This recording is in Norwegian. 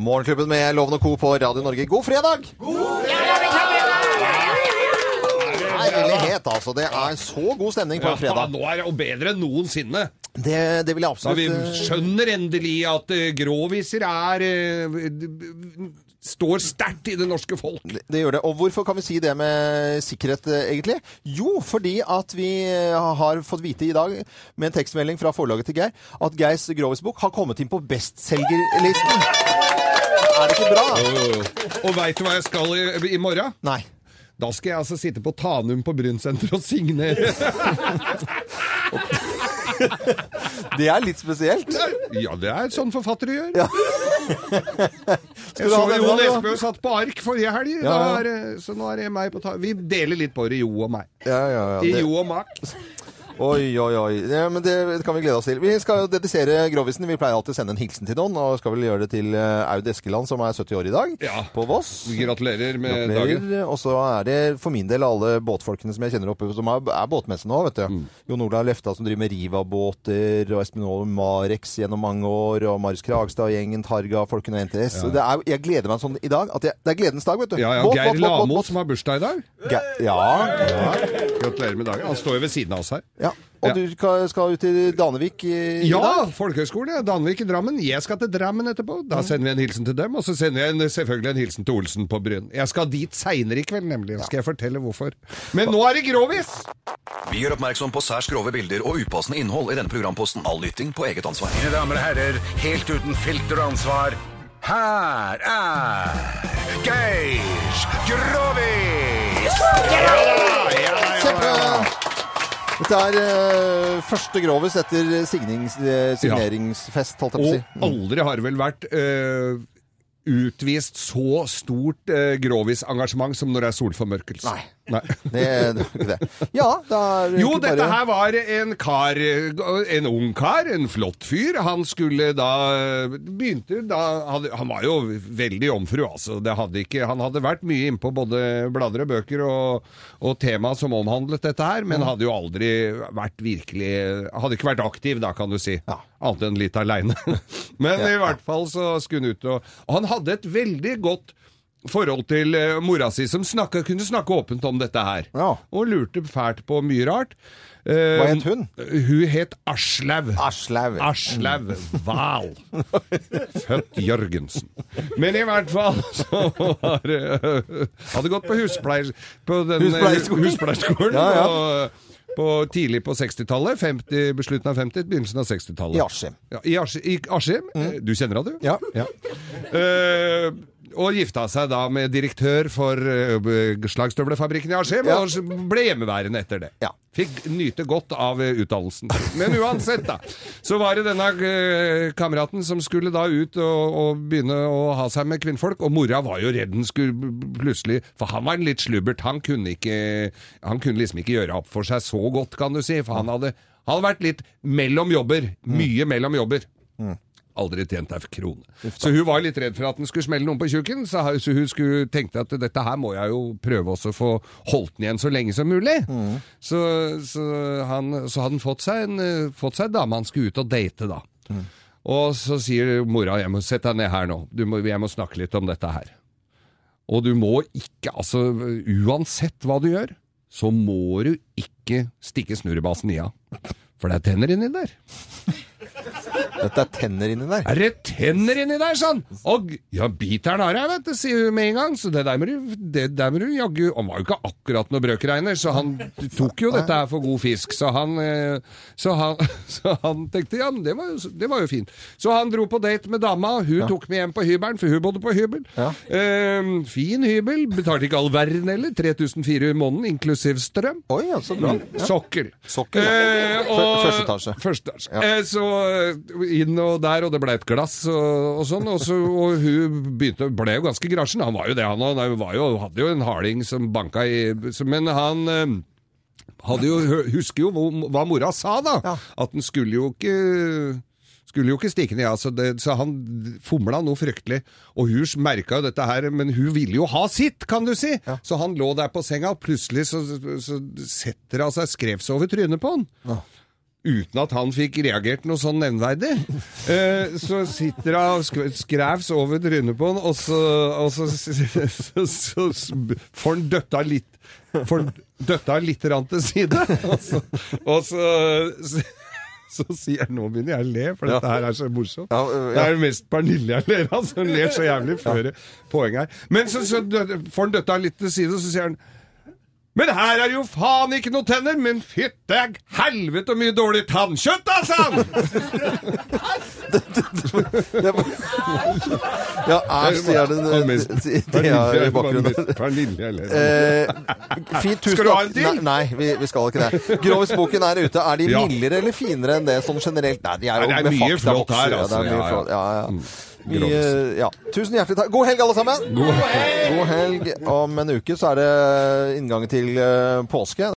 Morgenklubben med Loven og Co. på Radio Norge. God fredag! Herlighet, altså. Det er så god stemning på en Ja, fredag. nå er det og bedre enn noensinne. Det, det vil jeg Så vi absolutt eh, skjønner endelig at eh, gråviser er eh, d- b- Står sterkt i det norske folk. eh, det, det gjør det. Og hvorfor kan vi si det med sikkerhet, eh, egentlig? Jo, fordi at vi eh, har fått vite i dag, med en tekstmelding fra forlaget til Geir, at Geirs Grovis-bok har kommet inn på bestselgerlisten. Er det ikke bra? Og veit du hva jeg skal i, i morgen? Nei. Da skal jeg altså sitte på Tanum på Brynsenteret og signere. Det er litt spesielt. Ja, det er sånn forfattere gjør. Skal Jeg du så ha den Jo da, du? Nesbø satt på ark forrige helg, Ja, ja. Da er det- så nå er det meg på ta... Vi deler litt på det, Jo og meg. Ja, ja, ja. I Det- Jo og Mak. Oi, oi, oi. Ja, men det kan vi glede oss til. Vi skal jo dedisere Grovisen. Vi pleier alltid å sende en hilsen til noen, og skal vel gjøre det til eh, Aud Eskeland, som er 70 år i dag, Ja. på Voss. Gratulerer med dagen. Gratulerer. Og så er det for min del alle båtfolkene som jeg kjenner oppe, som er, er båtmesse nå, vet du. Mm. Jon Olav Lefta som driver med Riva-båter, og Espinol Marex gjennom mange år, og Marius Kragstad og gjengen, Targa, folkene og NTS. Så det er, jeg gleder meg sånn i dag. At jeg, det er gledens dag, vet du. Ja, ja, Båt, Geir båt, båt, Lamo båt, båt. som har bursdag i dag. Ge- Ja, Gratulerer med dagen. Han står jo ved siden av oss her. ja. Og Ja. du skal, skal ut til Danevik i, i dag? Mm. Ja, folkehøgskole. ja. Danvik i Drammen. Jeg skal til Drammen etterpå. Da sender vi en hilsen til dem, og så sender jeg en, selvfølgelig en hilsen til Olsen på Bryn. Jeg skal dit seinere i kveld, nemlig. Og skal jeg fortelle hvorfor. Men nå er det grovis! Vi gjør oppmerksom på særs grove bilder og upassende innhold i denne programposten. All lytting på eget ansvar. Mine damer og herrer, helt uten filter og ansvar, her er Geir Grovis! Kjempe! Dette er eh, første Grovis etter signings, eh, signeringsfest, holdt jeg på å si. Og aldri har det vel vært øh, utvist så stort øh, grovis-engasjement som når det er solformørkelse. Nei. Det, det var ikke det. Ja, det er Jo, ikke dette bare- her var en kar, en ung kar, en flott fyr. Han skulle da Begynte da hadde- Han var jo veldig jomfru, altså. Det hadde ikke, han hadde vært mye innpå både blader og bøker og, og tema som omhandlet dette her, men hadde jo aldri vært virkelig Hadde ikke vært aktiv, da, kan du si. Ja. Annet enn litt aleine. Men i hvert fall så skulle han ut og og Han hadde et veldig godt forhold til eh, mora si, som snakka, kunne snakke åpent om dette her. Ja. Og lurte fælt på mye rart. Eh, Hva het hun? Ah, Hun het Aslaug. Aslaug. Aslaug Hval. Født Jørgensen. Men i hvert fall så var eh, Hadde gått på huspleier... På den, eh, Huspleierskolen. huspleierskolen Ja, ja. På, på, tidlig på 60-tallet. 50 på Slutten av 50, begynnelsen av 60-tallet. I Askim. Mm. Ja, I Askim. i Askim. Eh, Du kjenner henne, du? Ja. Eh, og gifta seg da med direktør for eh, slagstøvlefabrikken i Askim, Ja. og ble hjemmeværende etter det. Ja. Fikk nyte godt av eh, utdannelsen. Men uansett, da, så var det denne eh, kameraten som skulle da ut og, og begynne å ha seg med kvinnfolk, og mora var jo redd den skulle b- plutselig For han var en litt slubbert. Han kunne, ikke, han kunne liksom ikke gjøre opp for seg så godt, kan du si, for Mm. han hadde, han hadde vært litt mellom jobber. Mye mellom jobber. Aldri tjent ei krone. Så hun var litt redd for at den skulle smelle noen på tjukken, så ha- så hun skulle tenkte at dette her må jeg jo prøve også å få holdt den igjen så lenge som mulig. Så, så, han, så hadde han fått seg en eh, fått seg en dame han skulle ut og date, da. Og så sier mora jeg må sette deg ned her nå, du må, jeg må snakke litt om dette her. Og du må ikke, altså uansett hva du gjør, så må du ikke stikke snurrebasen i henne. For det er tenner inni der. Dette er tenner inni der. Er det tenner inni der, sånn? Og ja, biteren har jeg, vet du, sier hun med en gang. Så det der må du, det der må du jaggu Han var jo ikke akkurat noe brøkregner, så han tok jo dette her for god fisk. Så han, eh, så han, så han tenkte ja, men det var, jo, det var jo fint. Så han dro på date med dama, og hun tok med hjem på hybelen, for hun bodde på hybel. Eh, fin hybel, betalte ikke all verden heller. 3400 i måneden, inklusiv strøm. Oi, ja, så bra. Sokkel. Sokkel, ja. Eh, og- Fø- første etasje. Første etasje. Eh, så eh, inn og der, og det ble et glass og, og sånn. Og, så, og hun begynte, ble jo ganske grasjen. Han var jo det, han òg. Han var jo- hadde jo en harding som banka i så- Men han eh, hadde jo, husker jo hva- hva mora sa, da. Ja. At den skulle jo ikke skulle jo ikke stikke ned, altså det, så han fomla noe fryktelig. Og hun merka jo dette her, men hun ville jo ha sitt, kan du si! Så han lå der på senga, og plutselig så, så setter hun seg skrevs over trynet på han. Uten at han fikk reagert noe sånn nevnverdig. Eh, så sitter hun og sk- skrevs over trynet på han, og så, og så, så, så, så, får han døtta litt Får han døtta litt rann til side, og så, og så så sier jeg, nå begynner jeg å le, for dette her er så morsomt. Ja, øh, ja. Det er jo mest Pernille jeg ler av, som ler så jævlig før poenget her. Men så, så dø- får han døtta litt til side, og så sier han men her er jo faen ikke noe tenner, men fytte helvete og mye dårlig tannkjøtt, altså! da, sa han! Det var- Ja, æsj, sier den Og mest Thea i Pernille- bakgrunnen. Pernille jeg ler av. Eh, fint, tusen Skal du ha en takk. Nei, til? nei vi, vi skal ikke det. Grovisboken er ute. Er de Ja. mildere eller finere enn det sånn generelt? Nei, de er jo Nei, det er med mye fakta flott bokser, her, ja, det er altså. mye Ja, ja. flott, ja, ja. Vi, Grovis. eh, ja. Tusen hjertelig takk. God helg, alle sammen! God helg! Om en uke så er det inngangen til eh, påske.